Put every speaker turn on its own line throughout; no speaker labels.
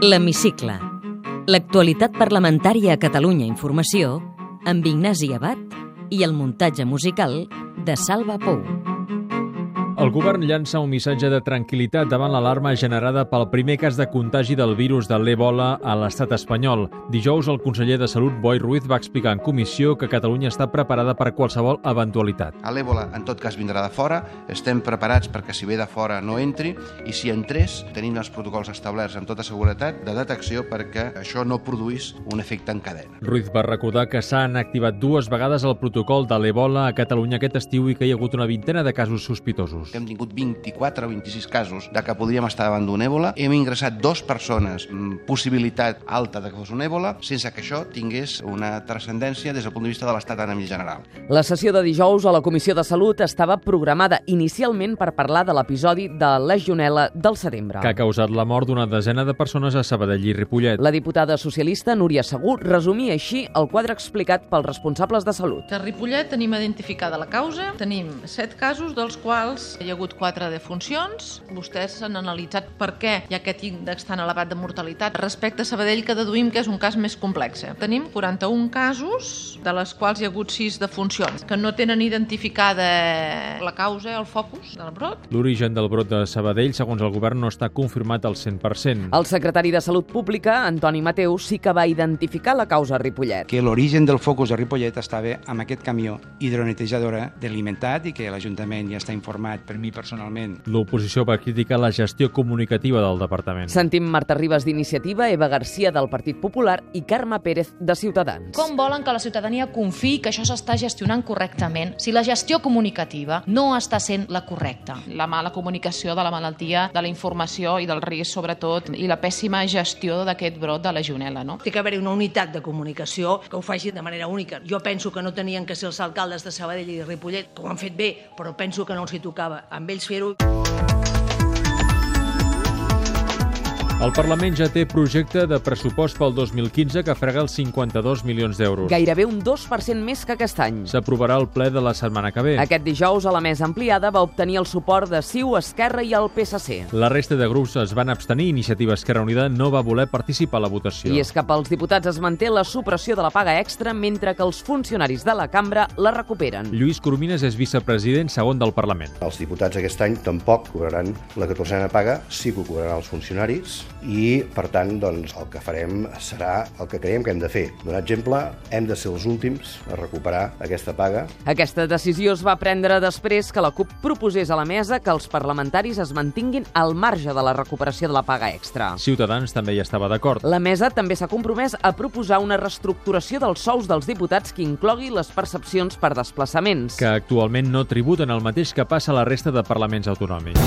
L'Hemicicle. L'actualitat parlamentària a Catalunya Informació amb Ignasi Abad i el muntatge musical de Salva Pou.
El govern llança un missatge de tranquil·litat davant l'alarma generada pel primer cas de contagi del virus de l'Ebola a l'estat espanyol. Dijous, el conseller de Salut, Boi Ruiz, va explicar en comissió que Catalunya està preparada per qualsevol eventualitat.
A l'Ébola, en tot cas, vindrà de fora. Estem preparats perquè si ve de fora no entri i si entrés tenim els protocols establerts amb tota seguretat de detecció perquè això no produís un efecte en cadena.
Ruiz va recordar que s'han activat dues vegades el protocol de l'Ebola a Catalunya aquest estiu i que hi ha hagut una vintena de casos sospitosos.
Hem tingut 24 o 26 casos de que podríem estar davant d'un èbola. Hem ingressat dos persones, mm, possibilitat alta de que fos un èbola, sense que això tingués una transcendència des del punt de vista de l'estat enemic general.
La sessió de dijous a la Comissió de Salut estava programada inicialment per parlar de l'episodi de Legionela del setembre.
que ha causat la mort d'una desena de persones a Sabadell i Ripollet.
La diputada socialista Núria Segur resumia així el quadre explicat pels responsables de salut.
A Ripollet tenim identificada la causa, tenim set casos, dels quals hi ha hagut quatre defuncions. Vostès han analitzat per què hi ha aquest índex tan elevat de mortalitat. Respecte a Sabadell, que deduïm que és un cas més complex. Tenim 41 casos, de les quals hi ha hagut sis defuncions, que no tenen identificada la causa, el focus del brot.
L'origen del brot de Sabadell, segons el govern, no està confirmat al 100%.
El secretari de Salut Pública, Antoni Mateu, sí que va identificar la causa a Ripollet.
que l'origen del focus de Ripollet estava amb aquest camió hidronetejadora d'alimentat i que l'Ajuntament ja està informat per mi personalment
L'oposició va criticar la gestió comunicativa del departament.
Sentim Marta Ribas d'Iniciativa, Eva Garcia del Partit Popular i Carme Pérez de Ciutadans.
Com volen que la ciutadania confiï que això s'està gestionant correctament si la gestió comunicativa no està sent la correcta?
La mala comunicació de la malaltia, de la informació i del risc, sobretot, i la pèssima gestió d'aquest brot de la legionela, no?
Té que haver-hi una unitat de comunicació que ho faci de manera única. Jo penso que no tenien que ser els alcaldes de Sabadell i de Ripollet, que ho han fet bé, però penso que no els hi tocava. Amb ells fer-ho
El Parlament ja té projecte de pressupost pel 2015 que frega els 52 milions d'euros.
Gairebé un 2% més que aquest any.
S'aprovarà el ple de la setmana que ve.
Aquest dijous, a la mesa ampliada, va obtenir el suport de CiU, Esquerra i el PSC.
La resta de grups es van abstenir i Iniciativa Esquerra Unida no va voler participar a la votació.
I és que pels diputats es manté la supressió de la paga extra mentre que els funcionaris de la cambra la recuperen.
Lluís Coromines és vicepresident segon del Parlament.
Els diputats aquest any tampoc cobraran la 14a paga, sí que ho cobraran els funcionaris i, per tant, doncs, el que farem serà el que creiem que hem de fer. Donar exemple, hem de ser els últims a recuperar aquesta paga.
Aquesta decisió es va prendre després que la CUP proposés a la mesa que els parlamentaris es mantinguin al marge de la recuperació de la paga extra.
Ciutadans també hi estava d'acord.
La mesa també s'ha compromès a proposar una reestructuració dels sous dels diputats que inclogui les percepcions per desplaçaments.
que actualment no tributen el mateix que passa a la resta de parlaments autonòmics.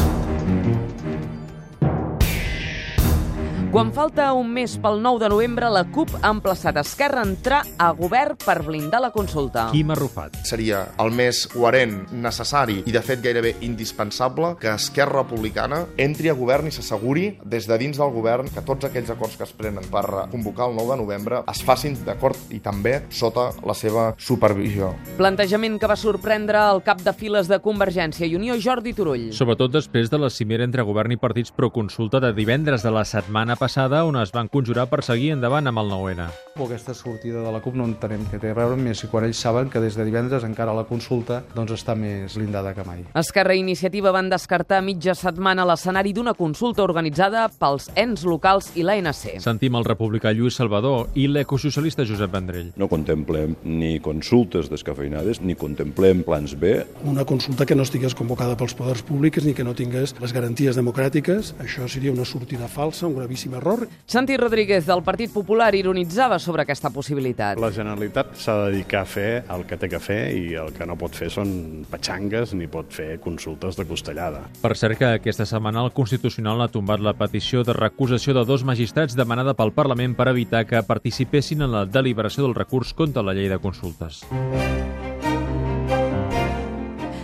Quan falta un mes pel 9 de novembre, la CUP ha emplaçat Esquerra a entrar a govern per blindar la consulta.
Quim Arrufat.
seria el més coherent, necessari i, de fet, gairebé indispensable que Esquerra Republicana entri a govern i s'asseguri des de dins del govern que tots aquells acords que es prenen per convocar el 9 de novembre es facin d'acord i també sota la seva supervisió.
Plantejament que va sorprendre el cap de files de Convergència i Unió, Jordi Turull.
Sobretot després de la cimera entre govern i partits proconsulta de divendres de la setmana passada on es van conjurar per seguir endavant amb el 9-N.
O aquesta sortida de la CUP no entenem què té a veure, més si quan ells saben que des de divendres encara la consulta doncs està més blindada que mai.
Esquerra i Iniciativa van descartar mitja setmana l'escenari d'una consulta organitzada pels ens locals i l'ANC.
Sentim el republicà Lluís Salvador i l'ecosocialista Josep Vendrell.
No contemplem ni consultes descafeinades, ni contemplem plans B.
Una consulta que no estigués convocada pels poders públics ni que no tingués les garanties democràtiques, això seria una sortida falsa, un gravíssim error.
Santi Rodríguez, del Partit Popular, ironitzava sobre aquesta possibilitat.
La Generalitat s'ha de dedicar a fer el que té que fer i el que no pot fer són petxangues ni pot fer consultes de costellada.
Per cert que aquesta setmana el Constitucional ha tombat la petició de recusació de dos magistrats demanada pel Parlament per evitar que participessin en la deliberació del recurs contra la llei de consultes.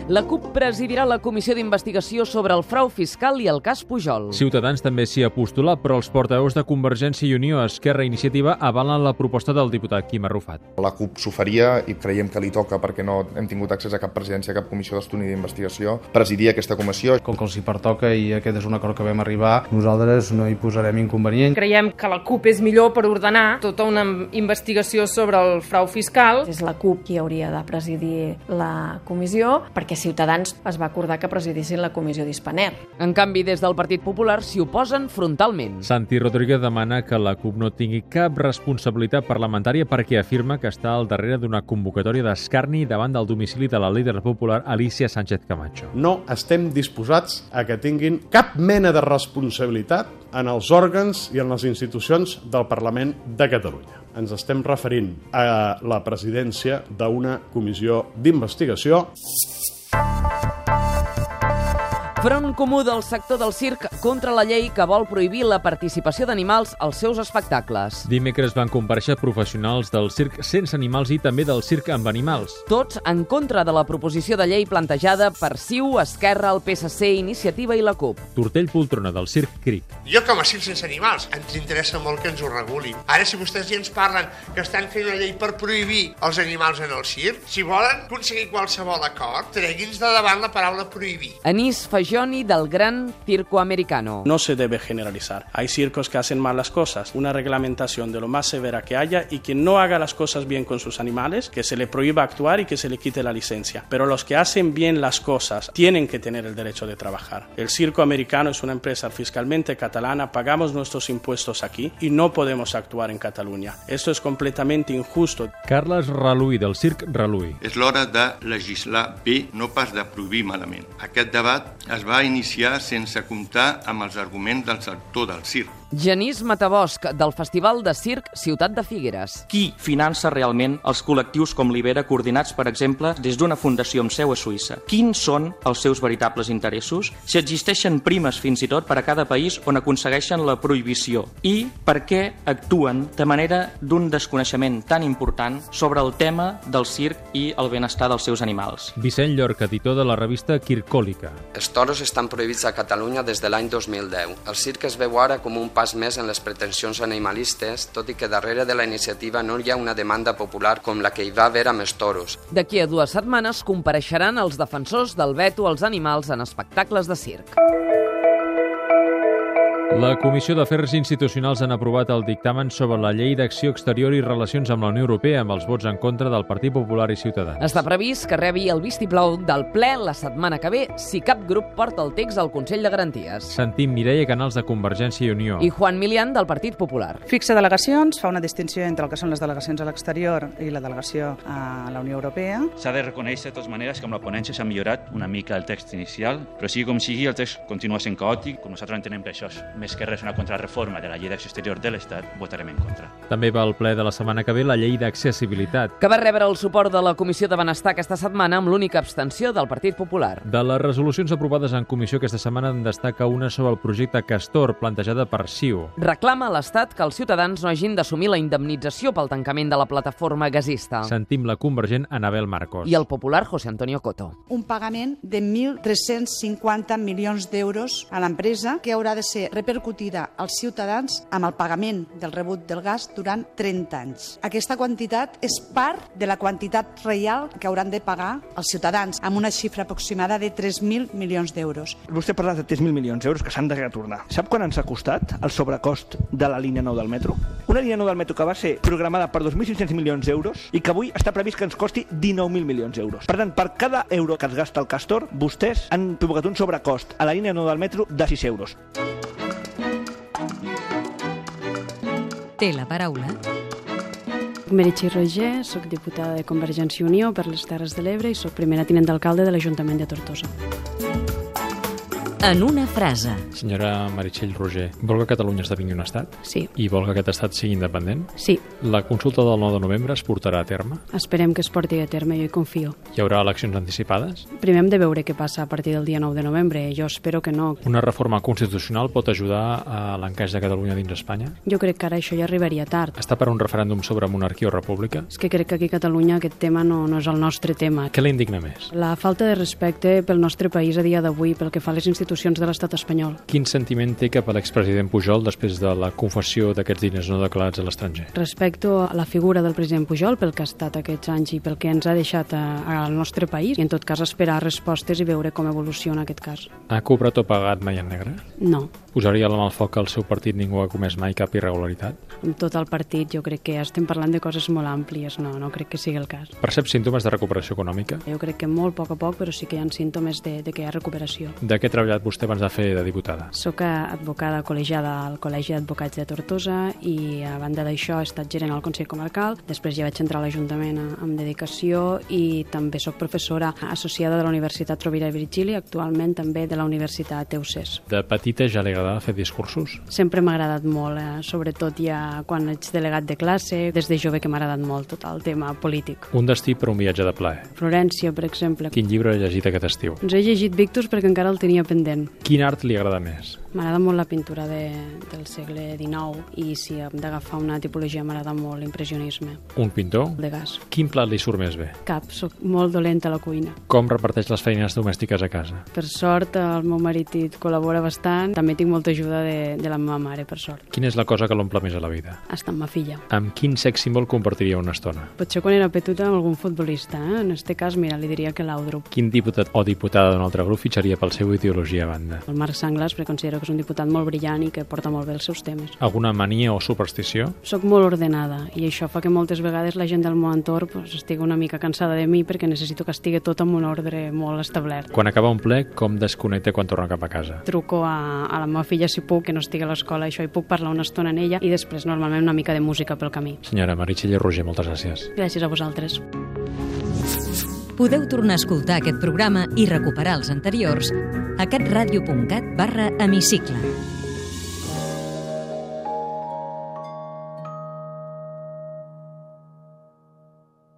La CUP presidirà la comissió d'investigació sobre el frau fiscal i el cas Pujol.
Ciutadans també s'hi apostolà, però els portaveus de Convergència i Unió, Esquerra i Iniciativa avalen la proposta del diputat Quim Arrufat.
La CUP s'ho faria i creiem que li toca, perquè no hem tingut accés a cap presidència, a cap comissió d'estudi d'investigació, presidir aquesta comissió.
Com que els hi pertoca i aquest és un acord que vam arribar, nosaltres no hi posarem inconvenient.
Creiem que la CUP és millor per ordenar tota una investigació sobre el frau fiscal.
És la CUP qui hauria de presidir la comissió, perquè Ciutadans es va acordar que presidissin la comissió d'Hispanet.
En canvi, des del Partit Popular s'hi oposen frontalment.
Santi Rodríguez demana que la CUP no tingui cap responsabilitat parlamentària perquè afirma que està al darrere d'una convocatòria d'escarni davant del domicili de la líder popular Alicia Sánchez Camacho.
No estem disposats a que tinguin cap mena de responsabilitat en els òrgans i en les institucions del Parlament de Catalunya. Ens estem referint a la presidència d'una comissió d'investigació.
Front comú del sector del circ contra la llei que vol prohibir la participació d'animals als seus espectacles.
Dimecres van compareixer professionals del circ sense animals i també del circ amb animals.
Tots en contra de la proposició de llei plantejada per CiU, Esquerra, el PSC, Iniciativa i la CUP.
Tortell Poltrona del circ Cric.
Jo com a circ sense animals ens interessa molt que ens ho regulin. Ara si vostès ja ens parlen que estan fent una llei per prohibir els animals en el circ, si volen aconseguir qualsevol acord, tregui'ns de davant la paraula prohibir.
Anís Fajó Johnny del Gran Circo Americano.
No se debe generalizar. Hay circos que hacen malas cosas. Una reglamentación de lo más severa que haya y que no haga las cosas bien con sus animales, que se le prohíba actuar y que se le quite la licencia. Pero los que hacen bien las cosas tienen que tener el derecho de trabajar. El circo americano es una empresa fiscalmente catalana, pagamos nuestros impuestos aquí y no podemos actuar en Cataluña. Esto es completamente injusto.
Carles Raluí del Circ Raluí.
És l'hora de legislar bé, no pas de prohibir malament. Aquest debat es va iniciar sense comptar amb els arguments del sector del circ.
Genís Matabosc, del Festival de Circ Ciutat de Figueres.
Qui finança realment els col·lectius com l'Ibera coordinats, per exemple, des d'una fundació amb seu a Suïssa? Quins són els seus veritables interessos? Si existeixen primes fins i tot per a cada país on aconsegueixen la prohibició? I per què actuen de manera d'un desconeixement tan important sobre el tema del circ i el benestar dels seus animals?
Vicent Llorca, editor de la revista Quircòlica.
Els toros estan prohibits a Catalunya des de l'any 2010. El circ es veu ara com un pas més en les pretensions animalistes, tot i que darrere de la iniciativa no hi ha una demanda popular com la que hi va haver amb els toros.
D'aquí a dues setmanes compareixeran els defensors del veto als animals en espectacles de circ.
La Comissió d'Afers Institucionals han aprovat el dictamen sobre la llei d'acció exterior i relacions amb la Unió Europea amb els vots en contra del Partit Popular i Ciutadans.
Està previst que rebi el vistiplau del ple la setmana que ve si cap grup porta el text al Consell de Garanties.
Sentim Mireia Canals de Convergència i Unió.
I Juan Milian del Partit Popular.
Fixa delegacions, fa una distinció entre el que són les delegacions a l'exterior i la delegació a la Unió Europea.
S'ha de reconèixer de totes maneres que amb la ponència s'ha millorat una mica el text inicial, però sigui com sigui, el text continua sent caòtic, com nosaltres entenem que això és més que res una contrarreforma de la llei d'acció exterior de l'Estat, votarem en contra.
També va al ple de la setmana que ve la llei d'accessibilitat.
Que va rebre el suport de la Comissió de Benestar aquesta setmana amb l'única abstenció del Partit Popular.
De les resolucions aprovades en comissió aquesta setmana en destaca una sobre el projecte Castor, plantejada per CiU.
Reclama a l'Estat que els ciutadans no hagin d'assumir la indemnització pel tancament de la plataforma gasista.
Sentim la convergent Anabel Marcos.
Ah. I el popular José Antonio Coto.
Un pagament de 1.350 milions d'euros a l'empresa que haurà de ser repercutida als ciutadans amb el pagament del rebut del gas durant 30 anys. Aquesta quantitat és part de la quantitat real que hauran de pagar els ciutadans, amb una xifra aproximada de 3.000 milions d'euros.
Vostè ha parlat de 3.000 milions d'euros que s'han de retornar. Sap quan ens ha costat el sobrecost de la línia 9 del metro? Una línia 9 del metro que va ser programada per 2.500 milions d'euros i que avui està previst que ens costi 19.000 milions d'euros. Per tant, per cada euro que es gasta el Castor, vostès han provocat un sobrecost a la línia 9 del metro de 6 euros.
Té la paraula.
Meritxell Roger, sóc diputada de Convergència i Unió per les Terres de l'Ebre i sóc primera tinent d'alcalde de l'Ajuntament de Tortosa.
en una frase.
Senyora Meritxell Roger, vol que Catalunya esdevingui un estat?
Sí.
I vol que aquest estat sigui independent?
Sí.
La consulta del 9 de novembre es portarà a terme?
Esperem que es porti a terme, jo hi confio.
Hi haurà eleccions anticipades?
Primer hem de veure què passa a partir del dia 9 de novembre. eh? Jo espero que no.
Una reforma constitucional pot ajudar a l'encaix de Catalunya dins Espanya?
Jo crec que ara això ja arribaria tard.
Està per un referèndum sobre monarquia o república?
És que crec que aquí a Catalunya aquest tema no, no és el nostre tema.
Què l'indigna més?
La falta de respecte pel nostre país a dia d'avui, pel que fa a les institucions de l'estat espanyol.
Quin sentiment té cap a l'expresident Pujol després de la confessió d'aquests diners no declarats a l'estranger?
Respecto a la figura del president Pujol pel que ha estat aquests anys i pel que ens ha deixat a- al nostre país i en tot cas esperar respostes i veure com evoluciona aquest cas.
Ha cobrat o pagat mai en negre?
No,
Posaria la mà al foc que el seu partit ningú ha comès mai cap irregularitat?
amb tot el partit jo crec que estem parlant de coses molt àmplies, no, no crec que sigui el cas.
Percep símptomes de recuperació econòmica?
Jo crec que molt a poc a poc, però sí que hi ha símptomes de, de que hi ha recuperació.
De què ha treballat vostè abans de fer de diputada?
Soc advocada col·legiada al Col·legi d'Advocats de Tortosa i a banda d'això he estat gerent al Consell Comarcal, després ja vaig entrar a l'Ajuntament a- amb dedicació i també sóc professora associada de la Universitat Rovira i Virgili, actualment també de la Universitat Teuses.
De petita ja li agradava fer discursos?
Sempre m'ha agradat molt, eh? sobretot ja quan ets delegat de classe, des de jove que m'ha agradat molt tot el tema polític.
Un destí per un viatge de plaer.
Florència, per exemple.
Quin llibre ha llegit aquest estiu?
Ens he llegit Victus perquè encara el tenia pendent.
Quin art li agrada més?
M'agrada molt la pintura de, del segle XIX i si hem d'agafar una tipologia m'agrada molt l'impressionisme.
Un pintor?
De gas.
Quin plat li surt més bé?
Cap, sóc molt dolenta a la cuina.
Com reparteix les feines domèstiques a casa?
Per sort, el meu marit hi col·labora bastant. També tinc molta ajuda de, de la meva mare, per sort.
Quina és la cosa que l'omple més a la vida?
Està amb ma filla.
Amb quin sex símbol compartiria una estona?
Potser quan era petuta amb algun futbolista, eh? En este cas, mira, li diria que l'Audrup.
Quin diputat o diputada d'un altre grup fitxaria pel seu ideologia a banda?
El Marc Sanglas, perquè considero que és un diputat molt brillant i que porta molt bé els seus temes.
Alguna mania o superstició?
Soc molt ordenada i això fa que moltes vegades la gent del meu entorn pues, estigui una mica cansada de mi perquè necessito que estigui tot amb un ordre molt establert.
Quan acaba un ple, com desconnecta quan torna cap a casa?
Truco a, a la meva filla si puc, que no estigui a l'escola, això, i puc parlar una estona amb ella i després normalment una mica de música pel camí.
Senyora Meritxell i Roger, moltes gràcies.
Gràcies a vosaltres.
Podeu tornar a escoltar aquest programa i recuperar els anteriors a catradio.cat barra hemicicle.